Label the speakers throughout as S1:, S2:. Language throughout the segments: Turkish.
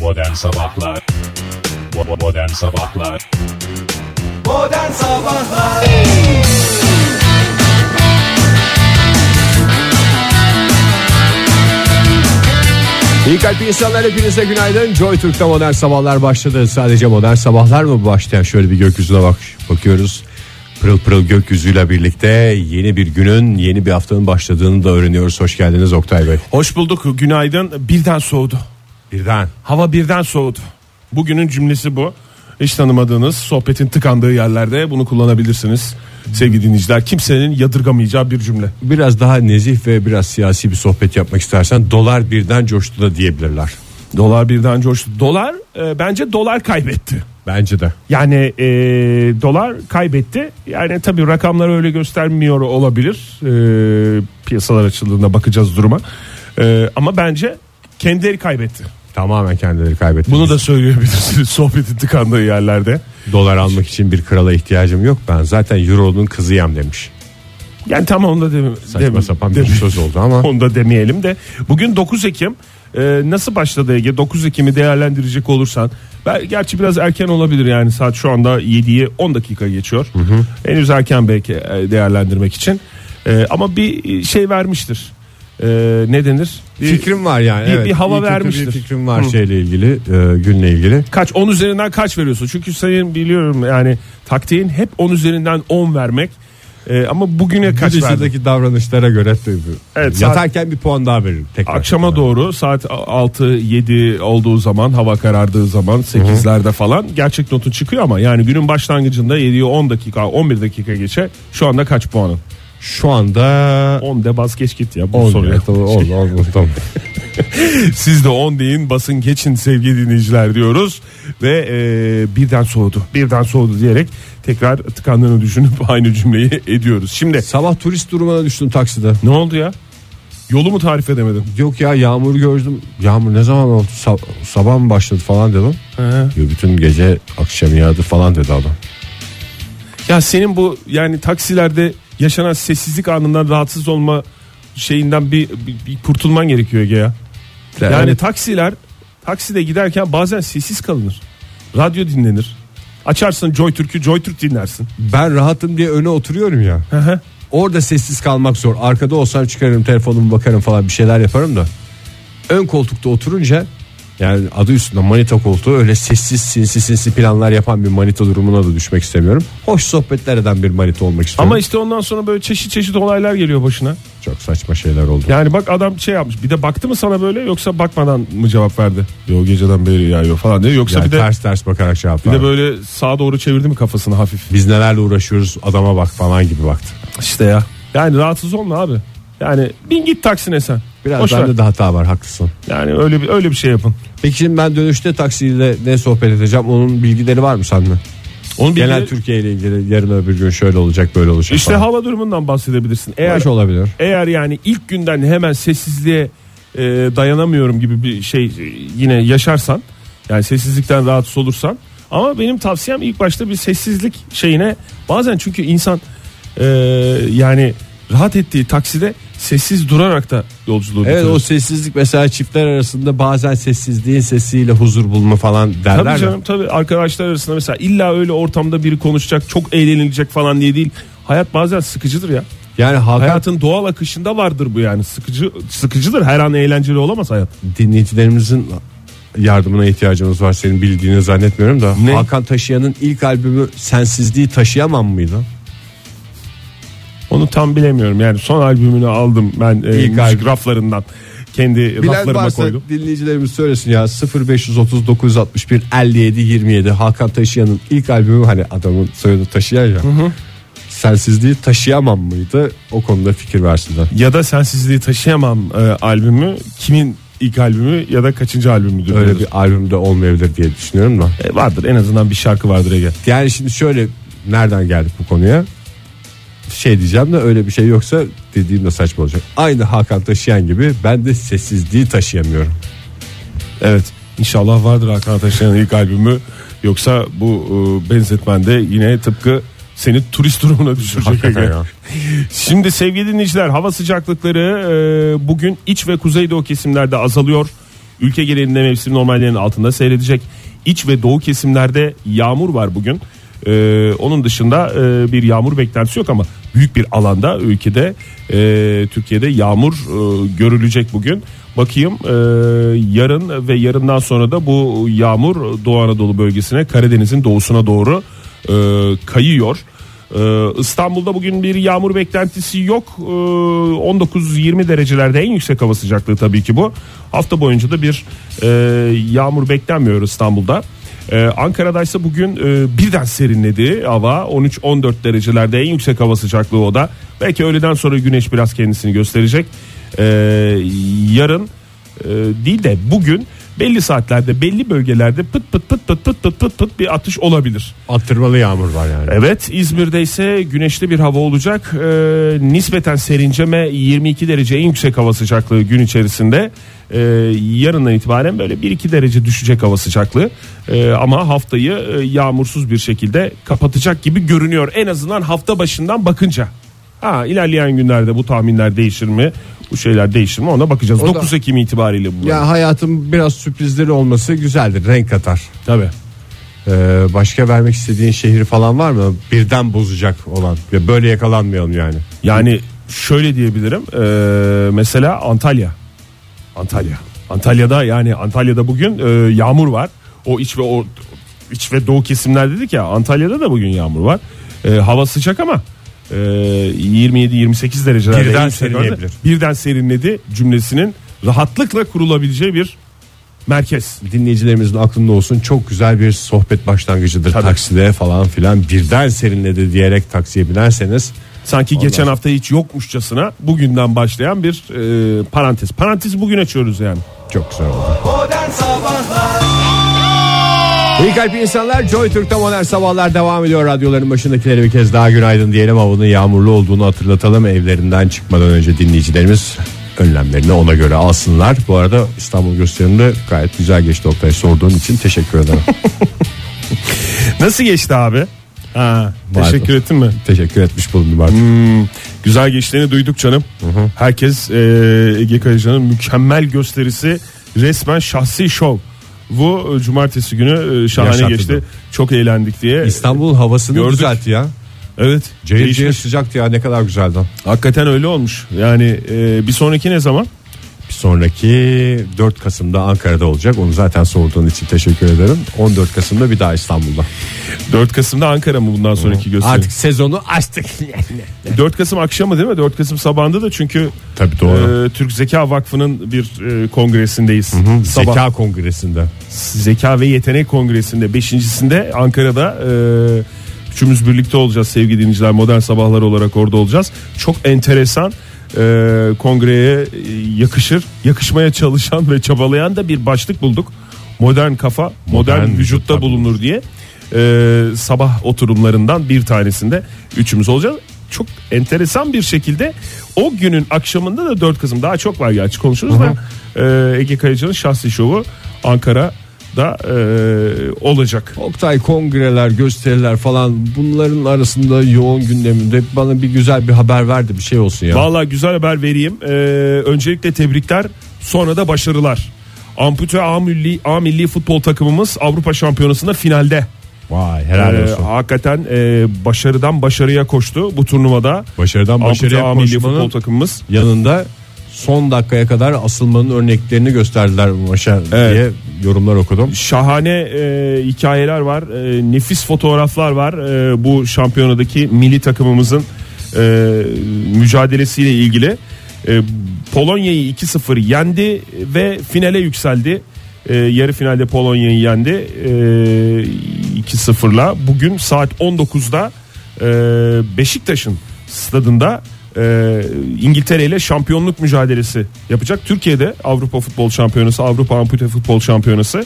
S1: Modern Sabahlar Bo- Modern Sabahlar
S2: Modern Sabahlar
S3: İyi kalp insanlar hepinize günaydın. Joy Türk'te modern sabahlar başladı. Sadece modern sabahlar mı başlayan? Şöyle bir gökyüzüne bak bakıyoruz. Pırıl pırıl gökyüzüyle birlikte yeni bir günün, yeni bir haftanın başladığını da öğreniyoruz. Hoş geldiniz Oktay Bey.
S4: Hoş bulduk günaydın birden soğudu
S3: Birden.
S4: hava birden soğudu bugünün cümlesi bu hiç tanımadığınız sohbetin tıkandığı yerlerde bunu kullanabilirsiniz sevgili dinleyiciler kimsenin yadırgamayacağı bir cümle
S3: Biraz daha nezih ve biraz siyasi bir sohbet yapmak istersen dolar birden coştu da diyebilirler.
S4: dolar birden coştu dolar e, bence dolar kaybetti
S3: Bence de.
S4: yani e, dolar kaybetti yani tabii rakamlar öyle göstermiyor olabilir E, piyasalar açıldığında bakacağız duruma E, ama bence kendileri kaybetti
S3: Tamamen kendileri kaybetti.
S4: bunu da söyleyebilirsiniz sohbetin tıkandığı yerlerde
S3: dolar almak için bir krala ihtiyacım yok. Ben zaten Euro'nun kızıyam demiş.
S4: Yani tam onda deme,
S3: Saçma
S4: deme-
S3: sapan bir
S4: deme-
S3: söz oldu ama.
S4: Onda demeyelim de. Bugün 9 Ekim. Ee, nasıl başladı Ege? 9 Ekim'i değerlendirecek olursan. Ben, gerçi biraz erken olabilir yani saat şu anda 7'ye 10 dakika geçiyor. Henüz erken belki e, değerlendirmek için. Ee, ama bir şey vermiştir. Ee, ne denir? Bir-
S3: fikrim var yani.
S4: bir-
S3: evet.
S4: bir hava
S3: İyi kötü
S4: vermiştir.
S3: Bir fikrim var
S4: Hı.
S3: şeyle ilgili, e, günle ilgili.
S4: Kaç 10 üzerinden kaç veriyorsun? Çünkü senin biliyorum yani taktiğin hep 10 üzerinden 10 vermek. Ee, ama bugüne kaç verdin?
S3: Kudüs'teki davranışlara göre tabii.
S4: Evet, saat-
S3: yatarken bir puan daha veririm tekrar.
S4: Akşama doğru saat 6-7 olduğu zaman hava karardığı zaman 8'lerde falan gerçek notu çıkıyor ama yani günün başlangıcında 7'ye 10 dakika 11 dakika geçe şu anda kaç puanın?
S3: Şu anda
S4: 10 de bas geç git ya bu
S3: 10
S4: soruya.
S3: ya, tamam, 10
S4: Şey-
S3: 10 tamam.
S4: Siz de 10 deyin basın geçin sevgili dinleyiciler diyoruz ve e, birden soğudu birden soğudu diyerek tekrar tıkandığını düşünüp aynı cümleyi ediyoruz. Şimdi
S3: Sabah turist durumuna düştüm takside.
S4: ne oldu ya? Yolu mu tarif edemedim?
S3: Yok ya yağmur gördüm. Yağmur ne zaman oldu? Sab- sabah mı başladı falan dedim. Ya bütün gece akşam yağdı falan dedi adam.
S4: Ya senin bu yani taksilerde yaşanan sessizlik anından rahatsız olma şeyinden bir, bir, bir kurtulman gerekiyor Ege ya. Yani,
S3: evet.
S4: taksiler takside giderken bazen sessiz kalınır. Radyo dinlenir. Açarsın Joy Türk'ü Joy Türk dinlersin.
S3: Ben rahatım diye öne oturuyorum ya.
S4: hı.
S3: Orada sessiz kalmak zor. Arkada olsam çıkarırım telefonumu bakarım falan bir şeyler yaparım da. Ön koltukta oturunca yani adı üstünde manita koltuğu öyle sessiz sinsi sinsi planlar yapan bir manita durumuna da düşmek istemiyorum. Hoş sohbetler eden bir manita olmak istiyorum.
S4: Ama
S3: Ama
S4: işte ondan sonra böyle çeşit çeşit olaylar geliyor başına.
S3: çok saçma şeyler oldu.
S4: Yani bak adam şey yapmış. Bir de baktı mı sana böyle yoksa bakmadan mı cevap verdi? Yo geceden beri yağıyor falan diye. Yoksa
S3: Yani
S4: bir de
S3: ters ters bakarak şey yaptı.
S4: bir de
S3: abi.
S4: böyle sağa doğru çevirdi mi kafasını hafif?
S3: Biz nelerle uğraşıyoruz adama bak falan gibi baktı.
S4: İşte ya. Yani rahatsız olma abi. Yani bin git taksine sen.
S3: Biraz
S4: Boş ver.
S3: bende de hata var haklısın.
S4: Yani öyle bir öyle bir şey yapın.
S3: Peki şimdi ben dönüşte taksiyle ne sohbet edeceğim onun bilgileri var mı sende?
S4: Onun
S3: Genel
S4: bilgileri-
S3: Türkiye ile ilgili yarın öbür gün şöyle olacak böyle olacak.
S4: işte
S3: falan.
S4: hava durumundan bahsedebilirsin. Eğer
S3: Hoş olabilir.
S4: eğer yani ilk günden hemen sessizliğe e, dayanamıyorum gibi bir şey e, yine yaşarsan yani sessizlikten rahatsız olursan ama benim tavsiyem ilk başta bir sessizlik şeyine bazen çünkü insan e, yani rahat ettiği takside sessiz durarak da yolculuğunu
S3: Evet
S4: bitirir.
S3: o sessizlik mesela çiftler arasında bazen sessizliğin sesiyle huzur bulma falan derler.
S4: Tabii
S3: ya.
S4: canım tabii arkadaşlar arasında mesela illa öyle ortamda biri konuşacak çok eğlenilecek falan diye değil. Hayat bazen sıkıcıdır ya.
S3: Yani halka
S4: Hayatın doğal akışında vardır bu yani. Sıkıcı sıkıcıdır. Her an eğlenceli olamaz hayat.
S3: dinleyicilerimizin yardımına ihtiyacımız var senin bildiğini zannetmiyorum da.
S4: Ne?
S3: Hakan Taşıyan'ın ilk albümü Sensizliği Taşıyamam mıydı?
S4: Onu tam bilemiyorum. Yani son albümünü aldım ben e,
S3: İlk
S4: müzik
S3: albüm.
S4: raflarından. Kendi
S3: Bilen
S4: raflarıma
S3: varsa
S4: koydum.
S3: dinleyicilerimiz söylesin ya 0530 961 57 27 Hakan Taşıyan'ın ilk albümü hani adamın soyadını taşıyan ya. Sensizliği taşıyamam mıydı? O konuda fikir versinler.
S4: Ya da Sensizliği Taşıyamam e, albümü kimin ilk albümü ya da kaçıncı albümüdür?
S3: Öyle
S4: diyoruz.
S3: bir albümde olmayabilir diye düşünüyorum da.
S4: E, vardır en azından bir şarkı vardır Ege.
S3: Yani şimdi şöyle nereden geldik bu konuya? Şey diyeceğim de öyle bir şey yoksa dediğim de saçma olacak. Aynı Hakan taşıyan gibi ben de sessizliği taşıyamıyorum.
S4: Evet. İnşallah vardır Hakan Ataş'ın ilk albümü. Yoksa bu e, benzetmen de yine tıpkı seni turist durumuna düşürecek.
S3: Hakikaten ya.
S4: Şimdi sevgili dinleyiciler hava sıcaklıkları e, bugün iç ve kuzeydoğu kesimlerde azalıyor. Ülke genelinde mevsim normallerinin altında seyredecek. İç ve doğu kesimlerde yağmur var bugün. Ee, onun dışında e, bir yağmur beklentisi yok ama büyük bir alanda ülkede e, Türkiye'de yağmur e, görülecek bugün. Bakayım e, yarın ve yarından sonra da bu yağmur Doğu Anadolu bölgesine Karadeniz'in doğusuna doğru e, kayıyor. Ee, İstanbul'da bugün bir yağmur beklentisi yok. Ee, 19-20 derecelerde en yüksek hava sıcaklığı tabii ki bu. Hafta boyunca da bir e, yağmur beklenmiyor İstanbul'da. Ee, Ankara'da ise bugün e, birden serinledi hava. 13-14 derecelerde en yüksek hava sıcaklığı o da. Belki öğleden sonra güneş biraz kendisini gösterecek. Ee, yarın e, değil de bugün belli saatlerde belli bölgelerde pıt pıt pıt pıt pıt pıt pıt pıt bir atış olabilir.
S3: Attırmalı yağmur var yani.
S4: Evet İzmir'de ise güneşli bir hava olacak. Ee, nispeten serinceme 22 derece en yüksek hava sıcaklığı gün içerisinde. Ee, yarından itibaren böyle 1-2 derece düşecek hava sıcaklığı. Ee, ama haftayı e, yağmursuz bir şekilde kapatacak gibi görünüyor. En azından hafta başından bakınca. Ha ilerleyen günlerde bu tahminler değişir mi? Bu şeyler değişir mi? Ona bakacağız.
S3: O da-
S4: 9 Ekim itibariyle bu.
S3: Ya hayatın biraz sürprizleri olması güzeldir. Renk katar.
S4: Tabii.
S3: Ee, başka vermek istediğin şehri falan var mı? Birden bozacak olan. Ya böyle yakalanmayalım yani.
S4: Yani şöyle diyebilirim. eee, mesela Antalya. Antalya. Antalya'da yani Antalya'da bugün eee, yağmur var. O iç ve o iç ve doğu kesimler dedik ya Antalya'da da bugün yağmur var. Eee, hava sıcak ama eee, 27-28 derecelerde
S3: Birden
S4: en yükseklerde
S3: serinleyebilir.
S4: Birden serinledi cümlesinin rahatlıkla kurulabileceği bir merkez.
S3: Dinleyicilerimizin aklında olsun çok güzel bir sohbet başlangıcıdır.
S4: Tabii.
S3: Takside falan filan birden serinledi diyerek taksiye binerseniz
S4: Sanki geçen hafta hiç yokmuşçasına bugünden başlayan bir eee, parantez. Parantez bugün açıyoruz yani.
S3: çok güzel olur.
S2: Modern Sabahlar
S3: İyi kalp insanlar Joy Türk'te modern sabahlar devam ediyor. Radyoların başındakileri bir kez daha günaydın diyelim. Havanın yağmurlu olduğunu hatırlatalım. Evlerinden çıkmadan önce dinleyicilerimiz önlemlerini ona göre alsınlar. Bu arada İstanbul gösterimde gayet güzel geçti Oktay sorduğun için teşekkür ederim.
S4: Nasıl geçti abi? Ha,
S3: Vardı.
S4: teşekkür ettin mi? Hmm.
S3: teşekkür etmiş bulundum artık.
S4: Güzel geçtiğini duyduk canım. Herkes e, Ege Kayacan'ın mükemmel gösterisi resmen şahsi şov. Bu e, cumartesi günü e, şahane
S3: Yaşattı
S4: geçti.
S3: diyor.
S4: Çok eğlendik diye.
S3: İstanbul havasını
S4: Gördük.
S3: düzeltti ya.
S4: Evet.
S3: Cehil
S4: değişmiş.
S3: cehil sıcaktı ya ne kadar güzeldi.
S4: Hakikaten öyle olmuş. Yani e, bir sonraki ne zaman?
S3: Bir sonraki 4 Kasım'da Ankara'da olacak. Onu zaten sorduğun için teşekkür ederim. 14 Kasım'da bir daha İstanbul'da.
S4: 4 Kasım'da Ankara mı bundan sonraki gösteri?
S3: Artık sezonu açtık.
S4: 4 Kasım akşamı değil mi? 4 Kasım sabahında da çünkü
S3: Tabii doğru.
S4: e, Türk Zeka Vakfı'nın bir e, kongresindeyiz. Sabah.
S3: Ee, Zeka Kongresi'nde.
S4: Zeka ve Yetenek Kongresi'nde 5.sinde Ankara'da e, üçümüz birlikte olacağız sevgili dinleyiciler modern sabahlar olarak orada olacağız. Çok enteresan e, kongreye e, yakışır yakışmaya çalışan ve çabalayan da bir başlık bulduk. Modern kafa modern,
S3: Modern
S4: vücutta
S3: vücutta
S4: bulunur diye e, sabah oturumlarından bir tanesinde üçümüz olacağız. Çok enteresan bir şekilde o günün akşamında da 4 Kasım daha çok var gerçi konuşuruz da e, Ege Kayacan'ın şahsi şovu Ankara'da e, olacak.
S3: Oktay kongreler, gösteriler falan bunların arasında yoğun gündeminde bana bir güzel bir haber verdi bir şey olsun ya.
S4: Vallahi güzel haber vereyim. E, öncelikle tebrikler sonra da başarılar. Ampute A milli, A milli futbol takımımız Avrupa Şampiyonası'nda finalde.
S3: Vay helal
S4: E,
S3: olsun.
S4: hakikaten e, başarıdan başarıya koştu bu turnuvada.
S3: Başarıdan
S4: Ampute
S3: başarıya
S4: A milli
S3: koşmanın
S4: futbol takımımız.
S3: yanında son dakikaya kadar asılmanın örneklerini gösterdiler maşa
S4: Evet.
S3: diye yorumlar okudum.
S4: şahane e, hikayeler var. E, nefis fotoğraflar var. E, bu şampiyonadaki milli takımımızın e, mücadelesiyle ilgili. E, Polonya'yı 2-0 yendi ve finale yükseldi. E, yarı finalde Polonya'yı yendi e, 2-0'la. Bugün saat 19'da e, Beşiktaş'ın stadında e, İngiltere ile şampiyonluk mücadelesi yapacak. Türkiye'de Avrupa Futbol Şampiyonası, Avrupa Ampute Futbol Şampiyonası.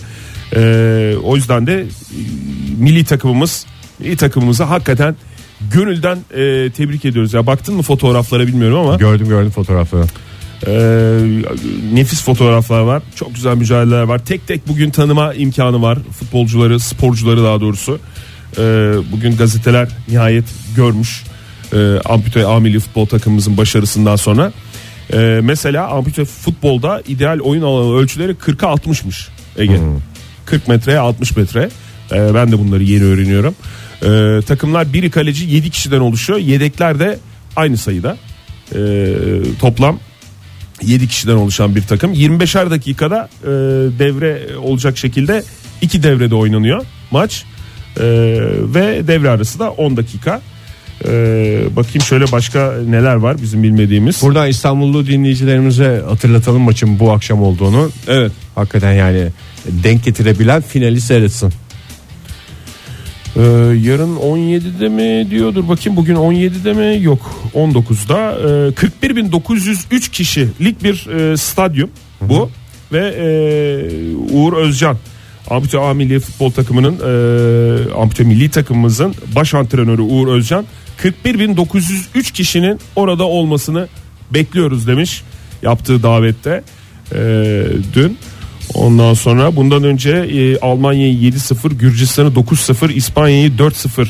S4: E, o yüzden de e, milli takımımız, milli takımımızı hakikaten gönülden e, tebrik ediyoruz. Ya baktın mı fotoğraflara bilmiyorum ama
S3: Gördüm gördüm fotoğrafı.
S4: e, nefis fotoğraflar var. Çok güzel mücadeleler var. Tek tek bugün tanıma imkanı var. Futbolcuları, sporcuları daha doğrusu. E, bugün gazeteler ee, nihayet görmüş. E, ampute A milli futbol takımımızın başarısından sonra. Ee, mesela ampute futbolda ideal oyun alanı ölçüleri 40'a 60'mış Ege. 40 metreye 60 metre. Ee, ben de bunları yeni öğreniyorum. Ee, takımlar biri kaleci 7 kişiden oluşuyor. Yedekler de aynı sayıda. Ee, toplam 7 kişiden oluşan bir takım. 25'er dakikada e, devre olacak şekilde iki devrede oynanıyor maç. E, ve devre arası da 10 dakika. E, bakayım şöyle başka neler var bizim bilmediğimiz.
S3: Buradan İstanbullu dinleyicilerimize hatırlatalım maçın bu akşam olduğunu.
S4: Evet.
S3: Hakikaten yani denk getirebilen finali seyretsin.
S4: E, yarın 17'de mi diyordur bakayım bugün 17'de mi yok 19'da e, 41.903 kişilik bir e, stadyum bu ve e, Uğur Özcan Ampute A Milli Futbol Takımı'nın e, Ampute Milli Takımımızın baş antrenörü Uğur Özcan 41.903 kişinin orada olmasını bekliyoruz demiş yaptığı davette e, dün. Ondan sonra bundan önce e, Almanya'yı 7-0, Gürcistan'ı 9-0, İspanya'yı 4-0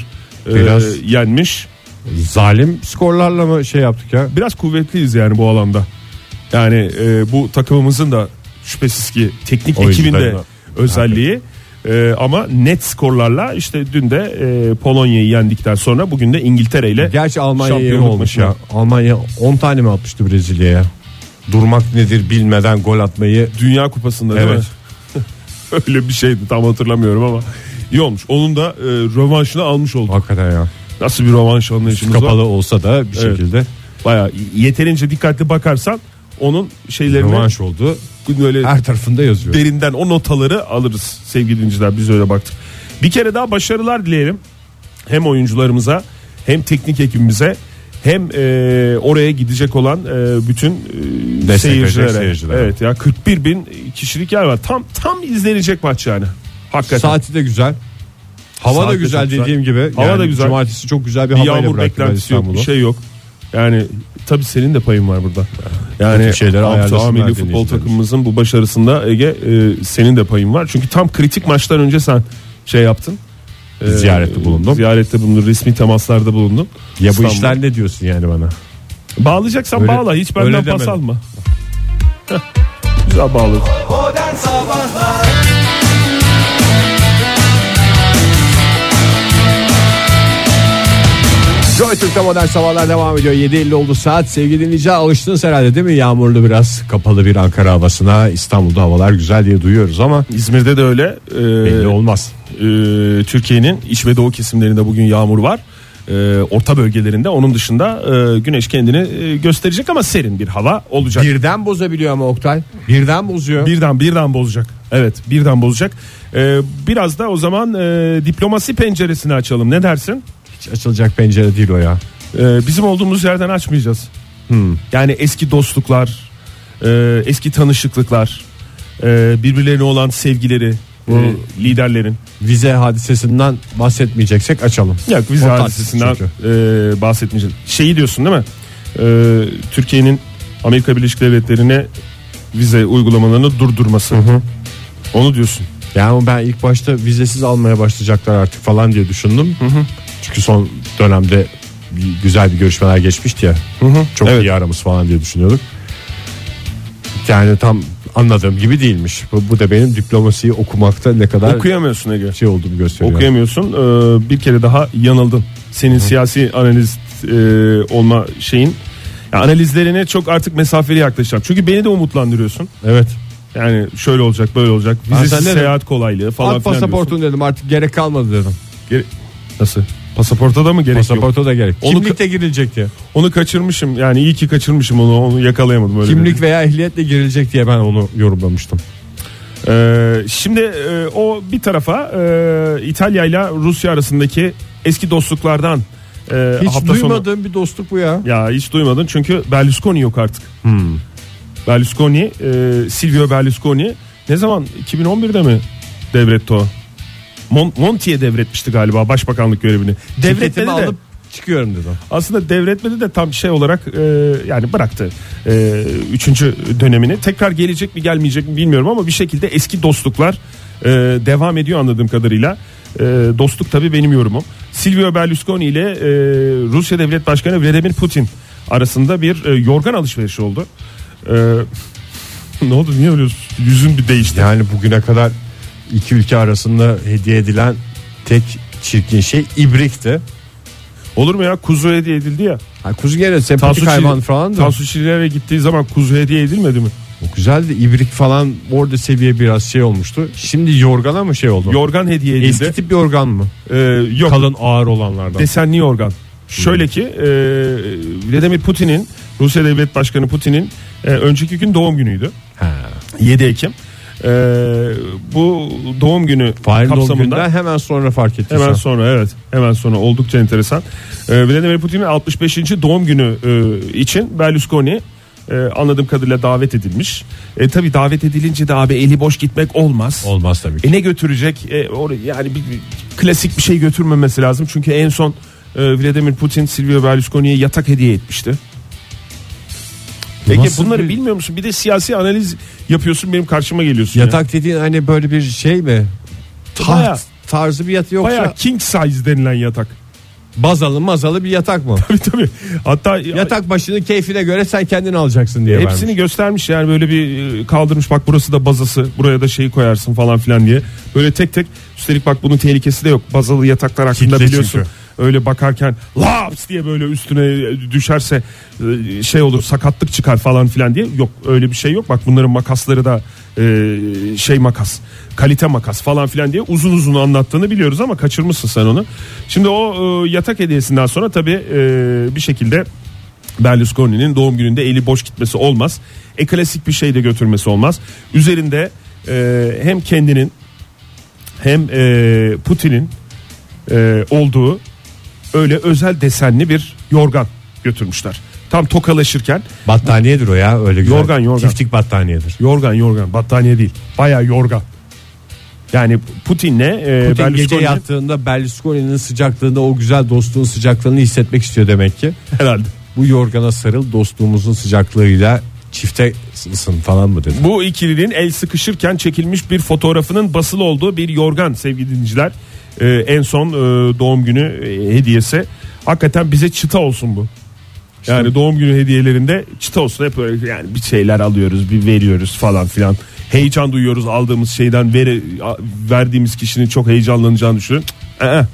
S4: e,
S3: Biraz-
S4: yenmiş.
S3: Zalim skorlarla mı şey yaptık ya?
S4: Biraz kuvvetliyiz yani bu alanda. Yani e, bu takımımızın da şüphesiz ki teknik ekibin de
S3: Oyuncularına.
S4: özelliği. E, ama net skorlarla işte dün de e, Polonya'yı yendikten sonra bugün de İngiltere ile
S3: Gerçi Almanya yeni
S4: Şampiyonluk
S3: olmuş
S4: maçına.
S3: ya. Almanya 10 tane mi atmıştı Brezilya'ya? Durmak nedir bilmeden gol atmayı.
S4: Dünya Kupası'nda değil
S3: Evet.
S4: mi? Öyle bir şeydi tam hatırlamıyorum ama iyi olmuş. Onun da e, rövanşını almış olduk.
S3: Hakikaten ya.
S4: Nasıl bir rövanş anlayışımız var?
S3: Kapalı olsa da bir
S4: Evet.
S3: şekilde
S4: Baya yeterince dikkatli bakarsan onun şeylerini
S3: rövanş oldu.
S4: böyle
S3: Her tarafında yazıyor.
S4: derinden o notaları alırız sevgili dinleyiciler biz öyle baktık. Bir kere daha başarılar dileyelim. Hem oyuncularımıza hem teknik ekibimize hem e, oraya gidecek olan e, bütün e,
S3: Destek
S4: seyircilere.
S3: verecek seyircilere.
S4: Evet ya 41 bin kişilik yer var. Tam tam izlenecek maç yani. Hakikaten.
S3: Saati de güzel. Hava
S4: Saat
S3: da
S4: de
S3: güzel
S4: çok güzel.
S3: dediğim gibi.
S4: Hava da güzel.
S3: Cumartesi çok güzel bir,
S4: bir
S3: havayla
S4: yağmur
S3: bıraktı ben
S4: beklentisi yok bir
S3: İstanbul'u.
S4: şey yok. Yani tabi senin de payın var burada. Yani
S3: Bütün şeyleri
S4: Abdullah
S3: ayarlasınlar
S4: milli futbol
S3: dinleyicilerimiz.
S4: takımımızın bu başarısında Ege e, senin de payın var. Çünkü tam kritik maçtan önce sen şey yaptın. E,
S3: Ziyarette bulundum.
S4: Ziyarette bulundum. Resmi temaslarda bulundum.
S3: Ya bu
S4: İstanbul.
S3: işler ne diyorsun yani bana?
S4: bağlayacaksan
S3: Öyle-
S4: bağla. Hiç
S3: öyle
S4: benden
S3: demedim.
S4: pas alma. Heh, Güzel bağladın.
S2: Modern Sabahlar
S3: Joy Türk'te modern sabahlar devam ediyor. 7.50 oldu saat. Sevgili dinleyiciler alıştınız herhalde değil mi? Yağmurlu biraz kapalı bir Ankara havasına. İstanbul'da havalar güzel diye duyuyoruz ama
S4: İzmir'de de öyle. E,
S3: belli olmaz.
S4: e, Türkiye'nin iç ve doğu kesimlerinde bugün yağmur var. E, orta bölgelerinde onun dışında e, güneş kendini e, gösterecek ama serin bir hava olacak.
S3: Birden bozabiliyor ama Oktay. Birden bozuyor.
S4: Birden birden bozacak. Evet birden bozacak. E, biraz da o zaman e, diplomasi penceresini açalım ne dersin?
S3: Hiç açılacak pencere değil o ya.
S4: E, bizim olduğumuz yerden açmayacağız. Hmm. Yani eski dostluklar, e, eski tanışıklıklar, e, birbirlerine olan sevgileri e, liderlerin.
S3: Vize hadisesinden bahsetmeyeceksek açalım.
S4: Yok vize
S3: O tarz
S4: hadisesinden
S3: çünkü.
S4: e, bahsetmeyeceğiz. Şeyi diyorsun değil mi? E, Türkiye'nin Amerika Birleşik Devletleri'ne vize uygulamalarını durdurması. Onu diyorsun.
S3: Yani ben ilk başta vizesiz almaya başlayacaklar artık falan diye düşündüm. Çünkü son dönemde bir- güzel bir görüşmeler geçmişti ya. Çok
S4: Evet.
S3: iyi aramız falan diye düşünüyorduk. Yani tam anladığım gibi değilmiş. Bu, bu da benim diplomasiyi okumakta ne kadar
S4: Okuyamıyorsun Ege.
S3: şey olduğumu gösteriyor.
S4: Okuyamıyorsun. E, bir kere daha yanıldın. Senin siyasi analiz e, olma şeyin ya analizlerine çok artık mesafeli yaklaşacağım. Çünkü beni de umutlandırıyorsun.
S3: evet.
S4: Yani şöyle olacak, böyle olacak.
S3: Ben
S4: Vizesiz
S3: sana dedim.
S4: seyahat kolaylığı falan
S3: At
S4: filan diyorsun.
S3: pasaportunu dedim artık gerek kalmadı dedim.
S4: Gere- Nasıl? Pasaporta da mı gerek yok?
S3: Pasaporta da gerek.
S4: Onu
S3: Kimlikte girilecek diye.
S4: Onu kaçırmışım yani iyi ki kaçırmışım onu onu yakalayamadım öyle.
S3: Kimlik veya ehliyetle girilecek diye ben onu yorumlamıştım.
S4: bir- Ee, şimdi e, o bir tarafa e, İtalya ile Rusya arasındaki eski dostluklardan e,
S3: Hiç
S4: hafta sonu-
S3: duymadığım bir dostluk bu ya.
S4: Ya hiç duymadın çünkü Berlusconi yok artık. Berlusconi, e, Silvio Berlusconi ne zaman 2011'de mi devretti o? Mon- Monti'ye devretmişti galiba başbakanlık görevini. Devretmedi
S3: Ceketimi
S4: de
S3: alıp çıkıyorum dedim.
S4: aslında devretmedi de tam şey olarak e, yani bıraktı e, üçüncü dönemini. Tekrar gelecek mi gelmeyecek mi bilmiyorum ama bir şekilde eski dostluklar e, devam ediyor anladığım kadarıyla. E, dostluk tabii benim yorumum. Silvio Berlusconi ile e, Rusya Devlet Başkanı Vladimir Putin arasında bir e, yorgan alışverişi oldu. E, ne oldu niye öyle yüzün bir değişti?
S3: Yani bugüne kadar iki ülke arasında hediye edilen tek çirkin şey ibrikti.
S4: Olur mu ya kuzu hediye edildi ya.
S3: Ha, kuzu gene
S4: Tansu,
S3: sempatik
S4: Çil-
S3: hayvan falan da.
S4: Tansu Çiller'e gittiği zaman kuzu hediye edilmedi mi?
S3: O güzeldi. İbrik falan orada seviye biraz şey olmuştu. Şimdi yorgana mı şey oldu?
S4: Yorgan hediye edildi.
S3: Eski tip yorgan mı?
S4: E, yok
S3: Kalın ağır olanlardan. Hmm.
S4: desenli yorgan. Şöyle ki e, Vladimir Putin'in Rusya Devlet Başkanı Putin'in e, önceki gün doğum günüydü.
S3: Ha.
S4: 7 Ekim. E, bu doğum günü
S3: Fahir'in doğum
S4: kapsamında
S3: gününden hemen sonra fark ettin
S4: Hemen
S3: sen.
S4: sonra evet. Hemen sonra oldukça enteresan. Ee, Vladimir Putin'in 65. doğum günü e, için Berlusconi e, anladığım kadarıyla davet edilmiş. E, tabii davet edilince de abi eli boş gitmek olmaz.
S3: Olmaz tabii ki.
S4: E ne götürecek? E, or- yani bir, bir klasik bir şey götürmemesi lazım. Çünkü en son e, Vladimir Putin Silvio Berlusconi'ye yatak hediye etmişti. Peki
S3: Nasıl
S4: bunları
S3: bir-
S4: bilmiyor musun? Bir de siyasi analiz yapıyorsun benim karşıma geliyorsun. ya.
S3: Yatak dediğin hani böyle bir şey mi? Taht
S4: Bayağı-
S3: tarzı bir yatak yoksa
S4: Bayağı king size denilen yatak.
S3: bazalı mazalı bir yatak mı?
S4: Tabii tabii. Hatta
S3: yatak başını keyfine göre sen kendin alacaksın diye
S4: Hepsini
S3: vermiş.
S4: göstermiş yani böyle bir e, kaldırmış bak burası da bazası buraya da şeyi koyarsın falan filan diye. Böyle tek tek üstelik bak bunun tehlikesi de yok. Bazalı yataklar hakkında
S3: Kitle
S4: biliyorsun.
S3: çünkü.
S4: Öyle bakarken laps diye böyle üstüne düşerse e, şey olur sakatlık çıkar falan filan diye. Yok öyle bir şey yok. Bak bunların makasları da e, şey makas kalite makas falan filan diye uzun uzun anlattığını biliyoruz ama kaçırmışsın sen onu. Şimdi o e, yatak hediyesinden sonra tabii e, bir şekilde Berlusconi'nin doğum gününde eli boş gitmesi olmaz. E klasik bir şey de götürmesi olmaz. Üzerinde e, hem kendinin hem e, Putin'in e, olduğu öyle özel desenli bir yorgan götürmüşler. Tam tokalaşırken
S3: Battaniyedir o ya öyle güzel.
S4: Yorgan, yorgan.
S3: Çiftlik battaniyedir.
S4: yorgan yorgan battaniye değil baya yorgan. Yani Putin'le e,
S3: Putin gece
S4: Berlusconi'nin
S3: yattığında Berlusconi'nin sıcaklığında o güzel dostluğun sıcaklığını hissetmek istiyor demek ki.
S4: herhalde.
S3: Bu yorgana sarıl dostluğumuzun sıcaklığıyla çifte ısın falan mı dedi.
S4: Bu ikilinin el sıkışırken çekilmiş bir fotoğrafının basılı olduğu bir yorgan sevgili dinleyiciler. Ee, en son e, doğum günü e, hediyesi. Hakikaten bize çıta olsun bu. Yani doğum günü hediyelerinde çıta olsun hep öyle yani bir şeyler alıyoruz, bir veriyoruz falan filan. Heyecan duyuyoruz aldığımız şeyden veri, a- verdiğimiz kişinin çok heyecanlanacağını düşünün. Cık, ee,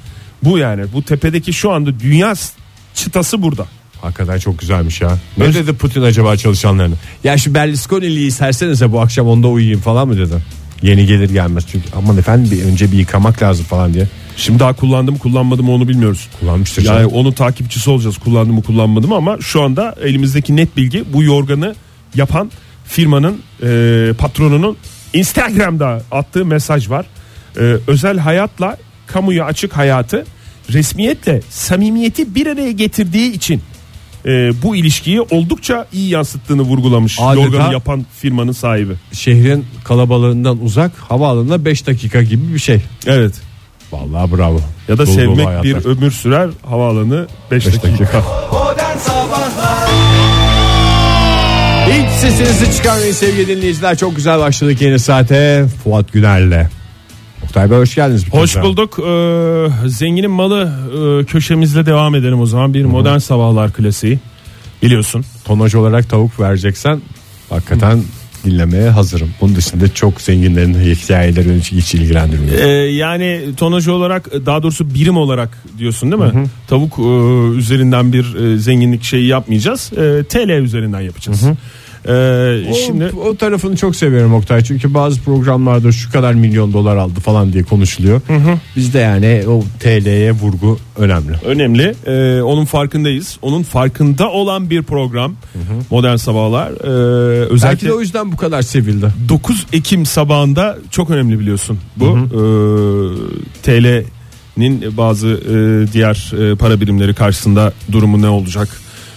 S4: bu yani bu tepedeki şu anda dünya s- çıtası burada.
S3: Hakikaten çok güzelmiş ya. Ne dedi Putin acaba çalışanlarına? Ya şu Berlusconi'liyi sersenize bu akşam onda uyuyayım falan mı dedi. Yeni gelir gelmez çünkü aman efendim bir önce bir yıkamak lazım falan diye.
S4: Şimdi daha kullandım kullanmadım onu bilmiyoruz.
S3: Kullanmıştır
S4: Yani
S3: canım.
S4: onun takipçisi olacağız kullandım mı kullanmadım mı ama şu anda elimizdeki net bilgi bu yorganı yapan firmanın e, patronunun Instagram'da attığı mesaj var. E, özel hayatla kamuya açık hayatı resmiyetle samimiyeti bir araya getirdiği için e, bu ilişkiyi oldukça iyi yansıttığını vurgulamış
S3: Adeta-
S4: yorganı yapan firmanın sahibi.
S3: Şehrin kalabalığından uzak havaalanına 5 dakika gibi bir şey.
S4: Evet.
S3: Vallahi bravo.
S4: Ya da
S3: Dolu dolu
S4: sevmek
S3: hayatlar.
S4: bir ömür sürer havaalanı 5
S3: Beş
S4: dakika.
S3: dakika.
S2: Modern Sabahlar
S3: Hiç sesinizi çıkarmayın sevgili dinleyiciler. Çok güzel başladık yeni saate Fuat Güner'le. Oktay Bey hoş geldiniz. bir kez
S4: Hoş
S3: daha.
S4: bulduk. Ee, zenginin malı e, köşemizle devam edelim o zaman. Bir modern sabahlar klasiği. Biliyorsun.
S3: Tonaj olarak tavuk vereceksen hakikaten dinlemeye hazırım. Bunun dışında çok zenginlerin hikayeleri beni hiç ilgilendirmiyor.
S4: Ee, yani tonaj olarak e, daha doğrusu birim olarak diyorsun değil mi? Tavuk e, üzerinden bir e, zenginlik şeyi yapmayacağız. E, TL üzerinden yapacağız. Ee,
S3: O-
S4: şimdi
S3: o, tarafını çok seviyorum Oktay. Çünkü bazı programlarda şu kadar milyon dolar aldı falan diye konuşuluyor. Bizde yani o TL'ye vurgu önemli.
S4: önemli. Ee, onun farkındayız. Onun farkında olan bir program. Modern sabahlar. Ee,
S3: Belki
S4: özellikle
S3: de o yüzden bu kadar sevildi.
S4: 9 Ekim sabahında çok önemli biliyorsun bu Ee, TL'nin bazı e, diğer e, para birimleri karşısında durumu ne olacak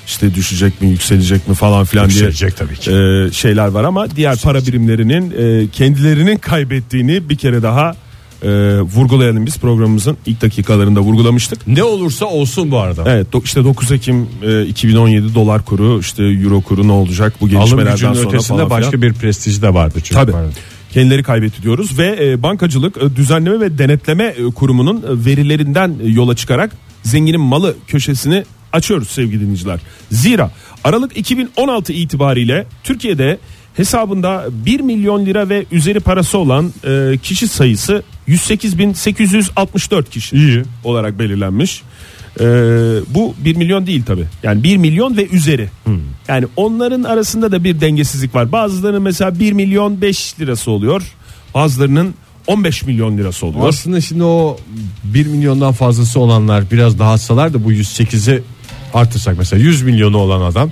S4: işte düşecek mi yükselecek mi falan filan diye
S3: Yükselecek tabii ki.
S4: e, şeyler var ama diğer para birimlerinin e, kendilerinin kaybettiğini bir kere daha e, vurgulayalım biz programımızın ilk dakikalarında vurgulamıştık.
S3: Ne olursa olsun bu arada.
S4: Evet do- işte 9 Ekim e, 2017 dolar kuru işte euro kuru ne olacak bu
S3: Alım
S4: gelişmelerden
S3: gücünün
S4: sonra
S3: ötesinde
S4: falan filan.
S3: başka bir prestij de vardı çünkü.
S4: Tabii.
S3: Pardon.
S4: Kendileri kaybetti diyoruz ve e, bankacılık e, düzenleme ve denetleme e, kurumunun e, verilerinden e, yola çıkarak zenginin malı köşesini açıyoruz sevgili dinleyiciler. Zira Aralık 2016 itibariyle Türkiye'de hesabında 1 milyon lira ve üzeri parası olan e, kişi sayısı 108.864 kişi
S3: İyi.
S4: olarak belirlenmiş. E, bu 1 milyon değil tabi. Yani 1 milyon ve üzeri.
S3: Hmm.
S4: Yani onların arasında da bir dengesizlik var. Bazılarının mesela 1 milyon 5 lirası oluyor. Bazılarının 15 milyon lirası oluyor.
S3: Aslında şimdi o 1 milyondan fazlası olanlar biraz daha atsalar da bu 108'i artırsak mesela 100 milyonu olan adam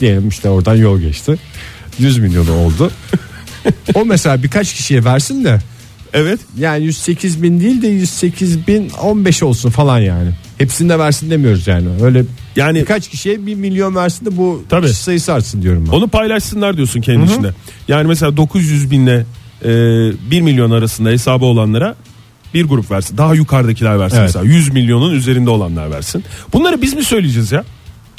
S3: diyelim işte oradan yol geçti. 100 milyonu oldu. o mesela birkaç kişiye versin de
S4: Evet.
S3: yani 108 bin değil de 108 bin 15 olsun falan yani. Hepsini de versin demiyoruz yani. Öyle
S4: Yani
S3: birkaç kişiye 1 milyon versin de bu
S4: Tabii.
S3: kişi sayısı artsın diyorum ben.
S4: Onu paylaşsınlar diyorsun kendi içinde. Yani mesela 900 binle e, 1 milyon arasında hesabı olanlara bir grup versin. Daha yukarıdakiler versin
S3: Evet.
S4: mesela. 100 milyonun üzerinde olanlar versin. Bunları biz mi söyleyeceğiz ya?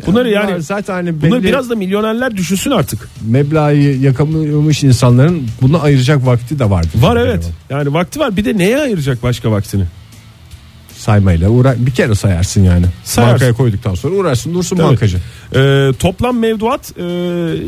S4: Bunları yani,
S3: Bunlar zaten hani
S4: bunları
S3: belli-
S4: biraz da milyonerler düşünsün artık.
S3: meblağı yakamıyormuş insanların bunu ayıracak vakti de vardı.
S4: Var evet. Yani vakti var. Bir de neye ayıracak başka vaktini?
S3: Saymayla uğra bir kere sayarsın yani.
S4: Sayarsın.
S3: Bankaya koyduktan sonra uğraşsın dursun
S4: Tabii.
S3: bankacı.
S4: Ee, toplam mevduat e,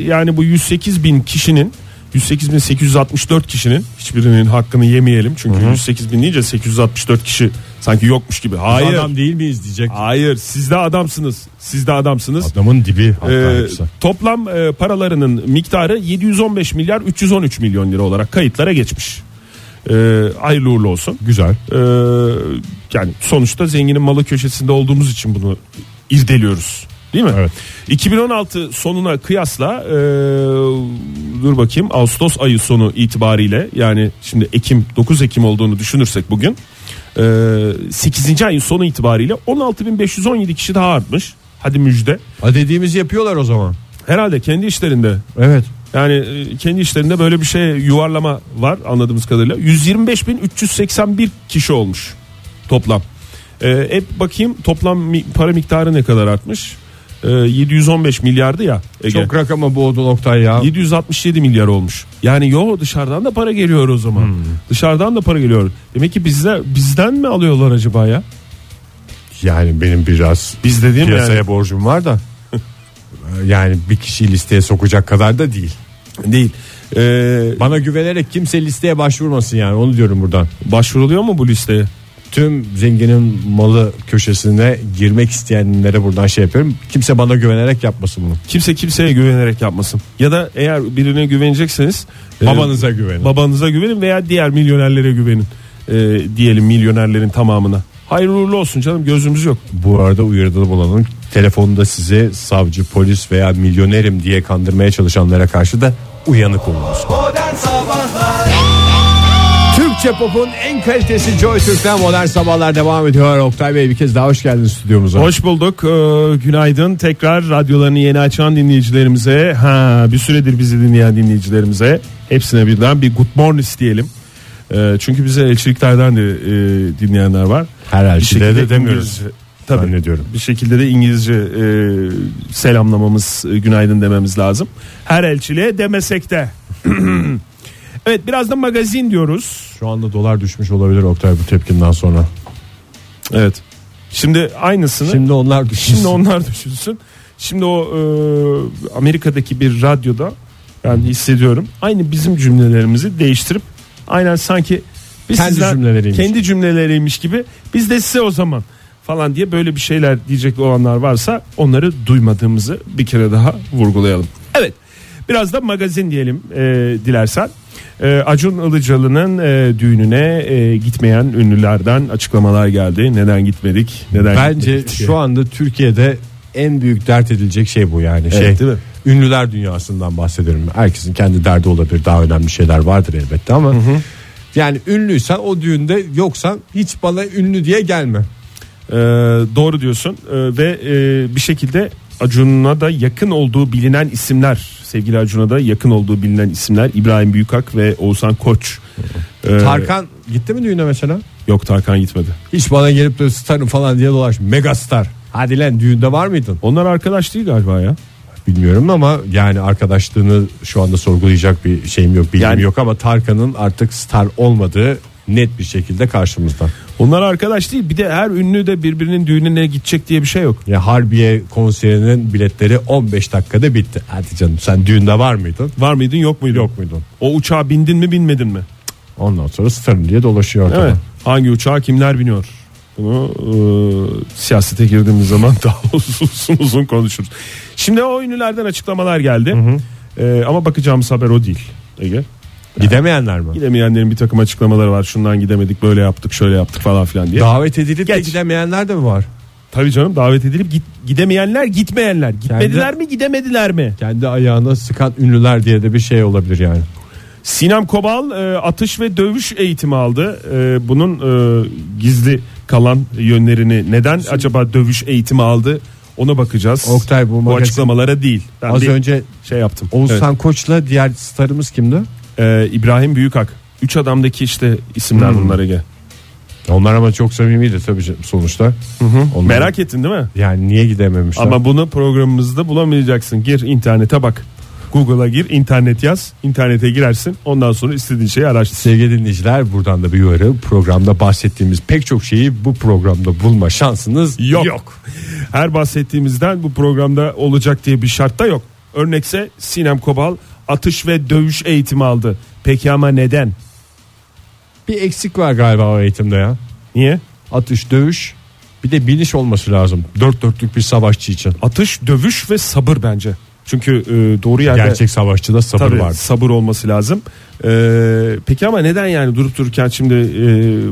S4: yani bu 108 bin kişinin 108.864 kişinin hiçbirinin hakkını yemeyelim. Çünkü 108 bin deyince 864 kişi sanki yokmuş gibi. Hayır.
S3: değil miyiz diyecek.
S4: Hayır siz de adamsınız. Siz de adamsınız.
S3: Adamın dibi hatta
S4: Ee,
S3: hepsi.
S4: toplam e, paralarının miktarı 715 milyar 313 milyon lira olarak kayıtlara geçmiş. Ee, hayırlı uğurlu olsun.
S3: Güzel.
S4: Ee, yani sonuçta zenginin malı köşesinde olduğumuz için bunu irdeliyoruz. Değil mi?
S3: Evet.
S4: 2016 sonuna kıyasla e, dur bakayım Ağustos ayı sonu itibariyle yani şimdi Ekim 9 Ekim olduğunu düşünürsek bugün e, 8. ayın sonu itibariyle 16.517 kişi daha artmış. Hadi müjde.
S3: Ha dediğimizi yapıyorlar o zaman.
S4: Herhalde kendi işlerinde
S3: Evet.
S4: yani e, kendi işlerinde böyle bir şey yuvarlama var anladığımız kadarıyla. 125.381 kişi olmuş toplam. E, hep bakayım toplam mi- para miktarı ne kadar artmış? E, 715 milyardı ya Ege.
S3: Çok rakama boğdu Oktay ya.
S4: 767 milyar olmuş. Yani yo dışarıdan da para geliyor o zaman.
S3: Hmm.
S4: Dışarıdan da para geliyor. Demek ki bizde bizden mi alıyorlar acaba ya?
S3: Yani benim biraz
S4: Biz dediğim
S3: piyasaya
S4: yani.
S3: borcum var da. yani bir kişiyi listeye sokacak kadar da değil.
S4: Değil. E,
S3: Bana güvenerek kimse listeye başvurmasın yani onu diyorum buradan.
S4: başvuruluyor mu bu listeye?
S3: tüm zenginin malı köşesine girmek isteyenlere buradan şey yapıyorum. Kimse bana güvenerek yapmasın bunu.
S4: Kimse kimseye güvenerek yapmasın. Ya da eğer birine güvenecekseniz e,
S3: Babanıza güvenin.
S4: Babanıza güvenin veya diğer milyonerlere güvenin. E, diyelim milyonerlerin tamamına. Hayırlı uğurlu olsun canım gözümüz yok.
S3: Bu arada uyarıda bulunalım. Telefonda sizi savcı, polis veya milyonerim diye kandırmaya çalışanlara karşı da uyanık olunuz.
S2: Modern Sabahlar
S3: Türkçe pop'un en kalitesi Joy Türk'ten modern sabahlar devam ediyor. Oktay Bey bir kez daha hoş geldiniz stüdyomuza.
S4: Hoş bulduk. Ee, günaydın. Tekrar radyolarını yeni açan dinleyicilerimize, ha bir süredir bizi dinleyen dinleyicilerimize hepsine birden bir good morning diyelim. Ee, çünkü bize elçiliklerden de e, dinleyenler var.
S3: Her
S4: Bir
S3: elçiliğe
S4: şekilde
S3: de demiyoruz. Hani
S4: İngilizce- Tabii.
S3: Zannediyorum.
S4: Bir şekilde de İngilizce e, selamlamamız, e, günaydın dememiz lazım. Her elçiliğe demesek de. evet biraz da magazin diyoruz.
S3: Şu anda dolar düşmüş olabilir Oktay bu tepkinden sonra.
S4: Evet. Şimdi aynısını
S3: Şimdi onlar düşmüş.
S4: Şimdi onlar düşünsün. Şimdi o e, Amerika'daki bir radyoda ben hissediyorum. Aynı bizim cümlelerimizi değiştirip aynen sanki biz
S3: Kendi
S4: sizden-
S3: cümleleriymiş.
S4: kendi cümleleriymiş gibi biz de size o zaman falan diye böyle bir şeyler diyecek olanlar varsa onları duymadığımızı bir kere daha vurgulayalım. Evet. Biraz da magazin diyelim e, dilersen. E, Acun Ilıcalı'nın e, düğününe e, gitmeyen ünlülerden açıklamalar geldi. Neden gitmedik? Neden
S3: Bence
S4: gitmedik diye.
S3: şu anda Türkiye'de en büyük dert edilecek şey bu yani. şey
S4: değil mi?
S3: Ünlüler dünyasından bahsediyorum. Herkesin kendi Hani derdi olabilir. Daha önemli şeyler vardır elbette ama. Yani ünlüysen o düğünde yoksan hiç bana ünlü diye gelme.
S4: Ee, doğru diyorsun Ee, ve e, bir şekilde Acun'a da yakın olduğu bilinen isimler sevgili Acun'a da yakın olduğu bilinen isimler İbrahim Büyükak ve Oğuzhan Koç. Ee,
S3: Tarkan gitti mi düğüne mesela?
S4: yok Tarkan gitmedi.
S3: Hiç bana gelip de starım falan diye dolaş. Megastar. Hadi lan düğünde var mıydın?
S4: Onlar arkadaş değil galiba ya.
S3: Bilmiyorum ama yani arkadaşlığını şu anda sorgulayacak bir şeyim yok, bilgim
S4: Yani-
S3: yok ama Tarkan'ın artık star olmadığı net bir şekilde karşımızda.
S4: Onlar arkadaş değil bir de her ünlü de birbirinin düğününe gidecek diye bir şey yok.
S3: Ya Harbiye konserinin biletleri 15 dakikada bitti. Hadi canım sen düğünde var mıydın?
S4: Var mıydın yok muydun?
S3: Yok muydun?
S4: O uçağa bindin mi binmedin mi?
S3: Ondan sonra star diye dolaşıyor ortada.
S4: Evet. Hangi uçağa kimler biniyor? Bunu e, siyasete girdiğimiz zaman daha uzun uzun konuşuruz. Şimdi o ünlülerden açıklamalar geldi. E, ama bakacağımız haber o değil. Ege.
S3: Gidemeyenler mi?
S4: Gidemeyenlerin bir takım açıklamaları var. Şundan gidemedik böyle yaptık şöyle yaptık falan filan diye.
S3: Davet edilip de
S4: Geç.
S3: gidemeyenler de mi var?
S4: Tabii canım davet edilip git, gidemeyenler gitmeyenler. Gitmediler mi gidemediler mi?
S3: Kendi ayağına sıkan ünlüler diye de bir şey olabilir yani.
S4: Sinem Kobal e, atış ve dövüş eğitimi aldı. E, bunun e, gizli kalan yönlerini neden acaba dövüş eğitimi aldı ona bakacağız.
S3: Oktay, bu magazin-
S4: açıklamalara değil. Ben
S3: Az
S4: bir
S3: önce
S4: şey yaptım.
S3: Oğuzhan Koç'la diğer starımız kimdi?
S4: Evet. E, İbrahim Büyükak. Üç adamdaki işte isimler
S3: Hmm.
S4: bunlar Ege.
S3: Onlar ama çok samimiydi tabii canım sonuçta. Onlar-
S4: Merak ettin değil mi?
S3: yani niye gidememişler?
S4: Ama bunu programımızda bulamayacaksın. Gir internete bak. Google'a gir, internet yaz. İnternete girersin. Ondan sonra istediğin şeyi araştır.
S3: Sevgili dinleyiciler buradan da bir uyarı programda bahsettiğimiz pek çok şeyi bu programda bulma şansınız
S4: Yok. Her bahsettiğimizden bu programda olacak diye bir şart da yok. Örnekse Sinem Kobal atış ve dövüş eğitimi aldı. Peki ama neden?
S3: Bir eksik var galiba o eğitimde ya.
S4: Niye?
S3: Atış, dövüş bir de biniş olması lazım. Dört dörtlük bir savaşçı için.
S4: Atış, dövüş ve sabır bence. Çünkü e, doğru yerde
S3: Gerçek savaşçıda sabır
S4: Tabii,
S3: var.
S4: sabır olması lazım. Ee, peki ama neden yani durup dururken şimdi e,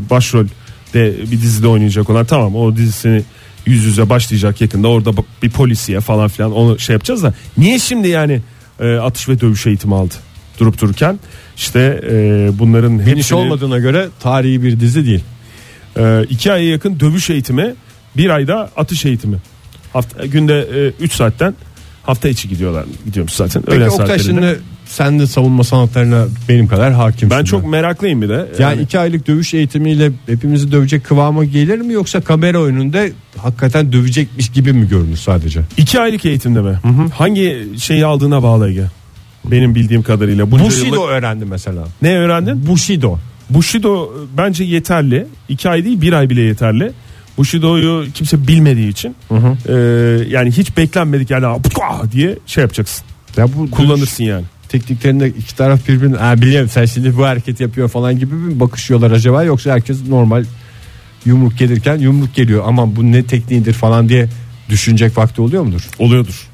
S4: başrol de bir dizide oynayacak olan tamam o dizisini yüz yüze başlayacak yakında orada bak- bir polisiye falan filan onu şey yapacağız da niye şimdi yani e, atış ve dövüş eğitimi aldı durup dururken işte e, bunların
S3: Biniş
S4: hepsini-
S3: olmadığına göre tarihi bir dizi değil.
S4: ee, iki aya yakın dövüş eğitimi, bir ayda atış eğitimi. Hafta, günde 3 saatten hafta içi gidiyorlar gidiyormuş zaten.
S3: Peki
S4: öğlen
S3: Oktay
S4: saatlerinde.
S3: şimdi sen de savunma sanatlarına benim kadar hakimsin.
S4: ben çok meraklıyım bir de.
S3: yani iki aylık dövüş eğitimiyle hepimizi dövecek kıvama gelir mi yoksa kamera önünde hakikaten dövecekmiş gibi mi görünür sadece?
S4: iki aylık eğitimde mi? Hangi şeyi aldığına bağlı Ege. Benim bildiğim kadarıyla. Bunca yıllık-
S3: öğrendi mesela.
S4: Ne öğrendin?
S3: Bushido.
S4: Bushido e, bence yeterli. İki ay değil bir ay bile yeterli. Bushido'yu kimse bilmediği için e, yani hiç beklenmedik yani "Aa!" diye şey yapacaksın.
S3: Ya bu kullanırsın
S4: Kullanırsın yani.
S3: tekniklerinde iki taraf birbirine "Ha, biliyorum sen şimdi bu hareket yapıyor falan gibi mi bakışıyorlar acaba yoksa herkes normal yumruk gelirken yumruk geliyor aman bu ne tekniğidir falan diye düşünecek vakti oluyor mudur?
S4: Oluyordur.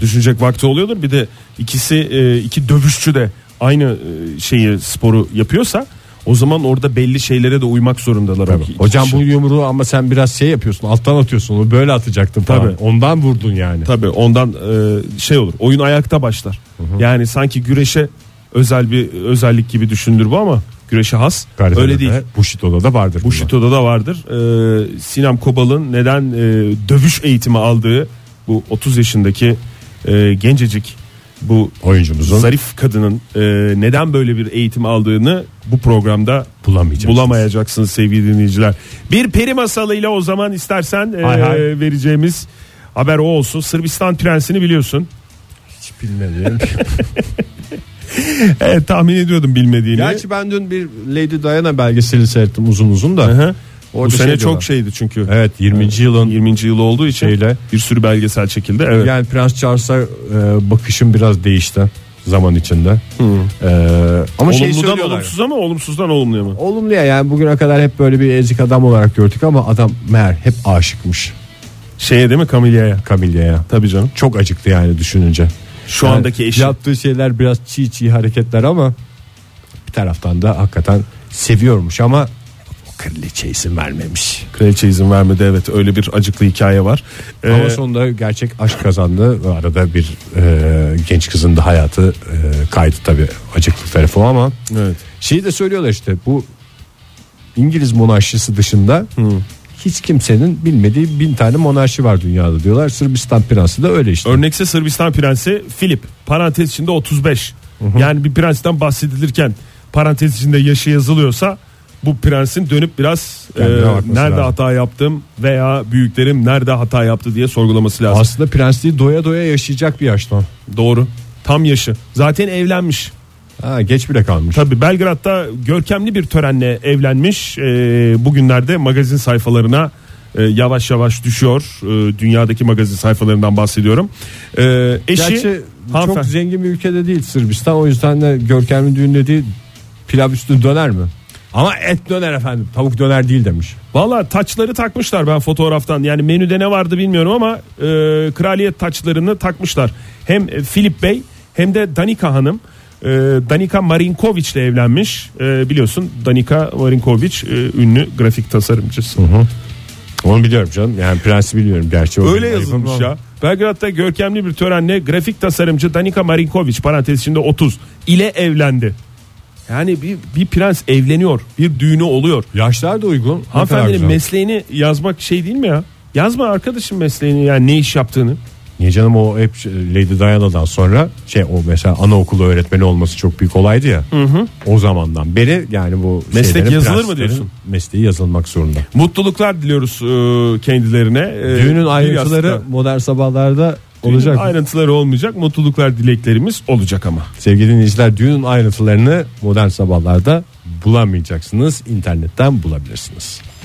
S4: Düşünecek vakti oluyordur. Bir de ikisi e, iki dövüşçü de aynı e, şeyi sporu yapıyorsa o zaman orada belli şeylere de uymak zorundalar. abi. İki
S3: Hocam
S4: kişi.
S3: bu yumruğu ama sen biraz şey yapıyorsun alttan atıyorsun onu böyle atacaktın falan.
S4: Tabii.
S3: Ondan vurdun yani.
S4: tabii ondan e, şey olur. Oyun ayakta başlar. Yani sanki güreşe özel bir özellik gibi düşündür bu ama güreşe has.
S3: Karate'de
S4: Öyle
S3: de,
S4: değil.
S3: Bushido'da da vardır. bunlar.
S4: Bushido'da da vardır. Ee, Sinem Kobal'ın neden e, dövüş eğitimi aldığı bu 30 yaşındaki e, gencecik bu
S3: Oyuncumuzun.
S4: zarif kadının e, neden böyle bir eğitim aldığını bu programda
S3: Bulamayacaksınız.
S4: bulamayacaksınız sevgili dinleyiciler. Bir peri masalıyla o zaman istersen e,
S3: Hay hay.
S4: vereceğimiz haber o olsun. Sırbistan prensini biliyorsun.
S3: Hiç bilmediğim.
S4: Evet E, tahmin ediyordum bilmediğini.
S3: Gerçi ben dün bir Lady Diana belgeseli seyrettim uzun uzun da.
S4: Hı hı.
S3: Orada
S4: bu
S3: şey
S4: sene
S3: diyorlar.
S4: çok şeydi çünkü.
S3: Evet 20. yılın
S4: 20. yılı olduğu için
S3: Şeyle.
S4: bir sürü belgesel çekildi. Evet.
S3: Yani Prens Charles'a e, bakışım biraz değişti zaman içinde. E, ama şey
S4: Olumludan
S3: söylüyorlar.
S4: olumsuza mı olumsuzdan olumluya mı?
S3: Olumlu ya yani bugüne kadar hep böyle bir ezik adam olarak gördük ama adam meğer hep aşıkmış
S4: Şeye değil mi Kamilya'ya?
S3: Camilla'ya.
S4: Tabii canım.
S3: Çok acıktı yani düşününce.
S4: Şu
S3: Yani
S4: andaki eşi.
S3: Yaptığı şeyler biraz çiğ çiğ hareketler ama bir taraftan da hakikaten seviyormuş ama o kraliçe isim vermemiş.
S4: Kraliçe izin vermedi evet öyle bir acıklı hikaye var. Ee,
S3: Ama sonunda gerçek aşk kazandı. Ve Arada bir e, genç kızın da hayatı e, kaydı tabii acıklı tarafı ama
S4: evet.
S3: şeyi de söylüyorlar işte bu İngiliz monarşisi dışında hiç kimsenin bilmediği bin tane monarşi var dünyada diyorlar. Sırbistan prensi de öyle işte.
S4: Örnekse Sırbistan prensi Filip parantez içinde 35. Yani bir prensten bahsedilirken parantez içinde yaşı yazılıyorsa bu prensin dönüp biraz e,
S3: Kendine bakması
S4: nerede
S3: lazım.
S4: hata yaptım veya büyüklerim nerede hata yaptı diye sorgulaması lazım.
S3: Aslında prensliği doya doya yaşayacak bir yaştan.
S4: Doğru. Tam yaşı. Zaten evlenmiş.
S3: Ha, geç bile kalmış.
S4: Tabi Belgrad'da görkemli bir törenle evlenmiş. Ee, bugünlerde magazin sayfalarına e, yavaş yavaş düşüyor. Ee, dünyadaki magazin sayfalarından bahsediyorum. Ee, eşi
S3: Gerçi çok
S4: hanımefendi-
S3: zengin bir ülkede değil Sırbistan. O yüzden de görkemli düğünde değil pilav üstü döner mi? Ama et döner efendim. Tavuk döner değil demiş.
S4: Valla taçları takmışlar ben fotoğraftan. Yani menüde ne vardı bilmiyorum ama e, kraliyet taçlarını takmışlar. Hem e, Filip Bey hem de Danika Hanım. E, Danika Marinkoviç ile evlenmiş. E, biliyorsun Danika Marinkoviç e, ünlü grafik tasarımcısı.
S3: Onu biliyorum canım. Yani prensi biliyorum gerçi. O
S4: Öyle
S3: benim ayıbım
S4: yazılmış
S3: ama.
S4: ya. Belgrad'da görkemli bir törenle grafik tasarımcı Danika Marinkoviç parantez içinde 30 ile evlendi. Yani bir, bir prens evleniyor. Bir düğünü oluyor.
S3: Yaşlar da uygun. Ne kadar
S4: Hanımefendinin
S3: güzel.
S4: mesleğini yazmak şey değil mi ya? Yazma arkadaşım mesleğini yani ne iş yaptığını.
S3: Niye canım o hep şey- Lady Diana'dan sonra şey o mesela anaokulu öğretmeni olması çok büyük olaydı ya. O zamandan beri yani bu
S4: Meslek
S3: şeylerin,
S4: yazılır mı
S3: prensiplerin
S4: diyorsun?
S3: Mesleği yazılmak zorunda.
S4: Mutluluklar diliyoruz e, kendilerine. E,
S3: Düğünün
S4: bir
S3: ayrıntıları
S4: yastıkta.
S3: modern sabahlarda
S4: Düğünün
S3: olacak.
S4: ayrıntıları olmayacak. Mutluluklar dileklerimiz olacak ama.
S3: Sevgili dinleyiciler düğünün ayrıntılarını modern sabahlarda bulamayacaksınız. İnternetten bulabilirsiniz.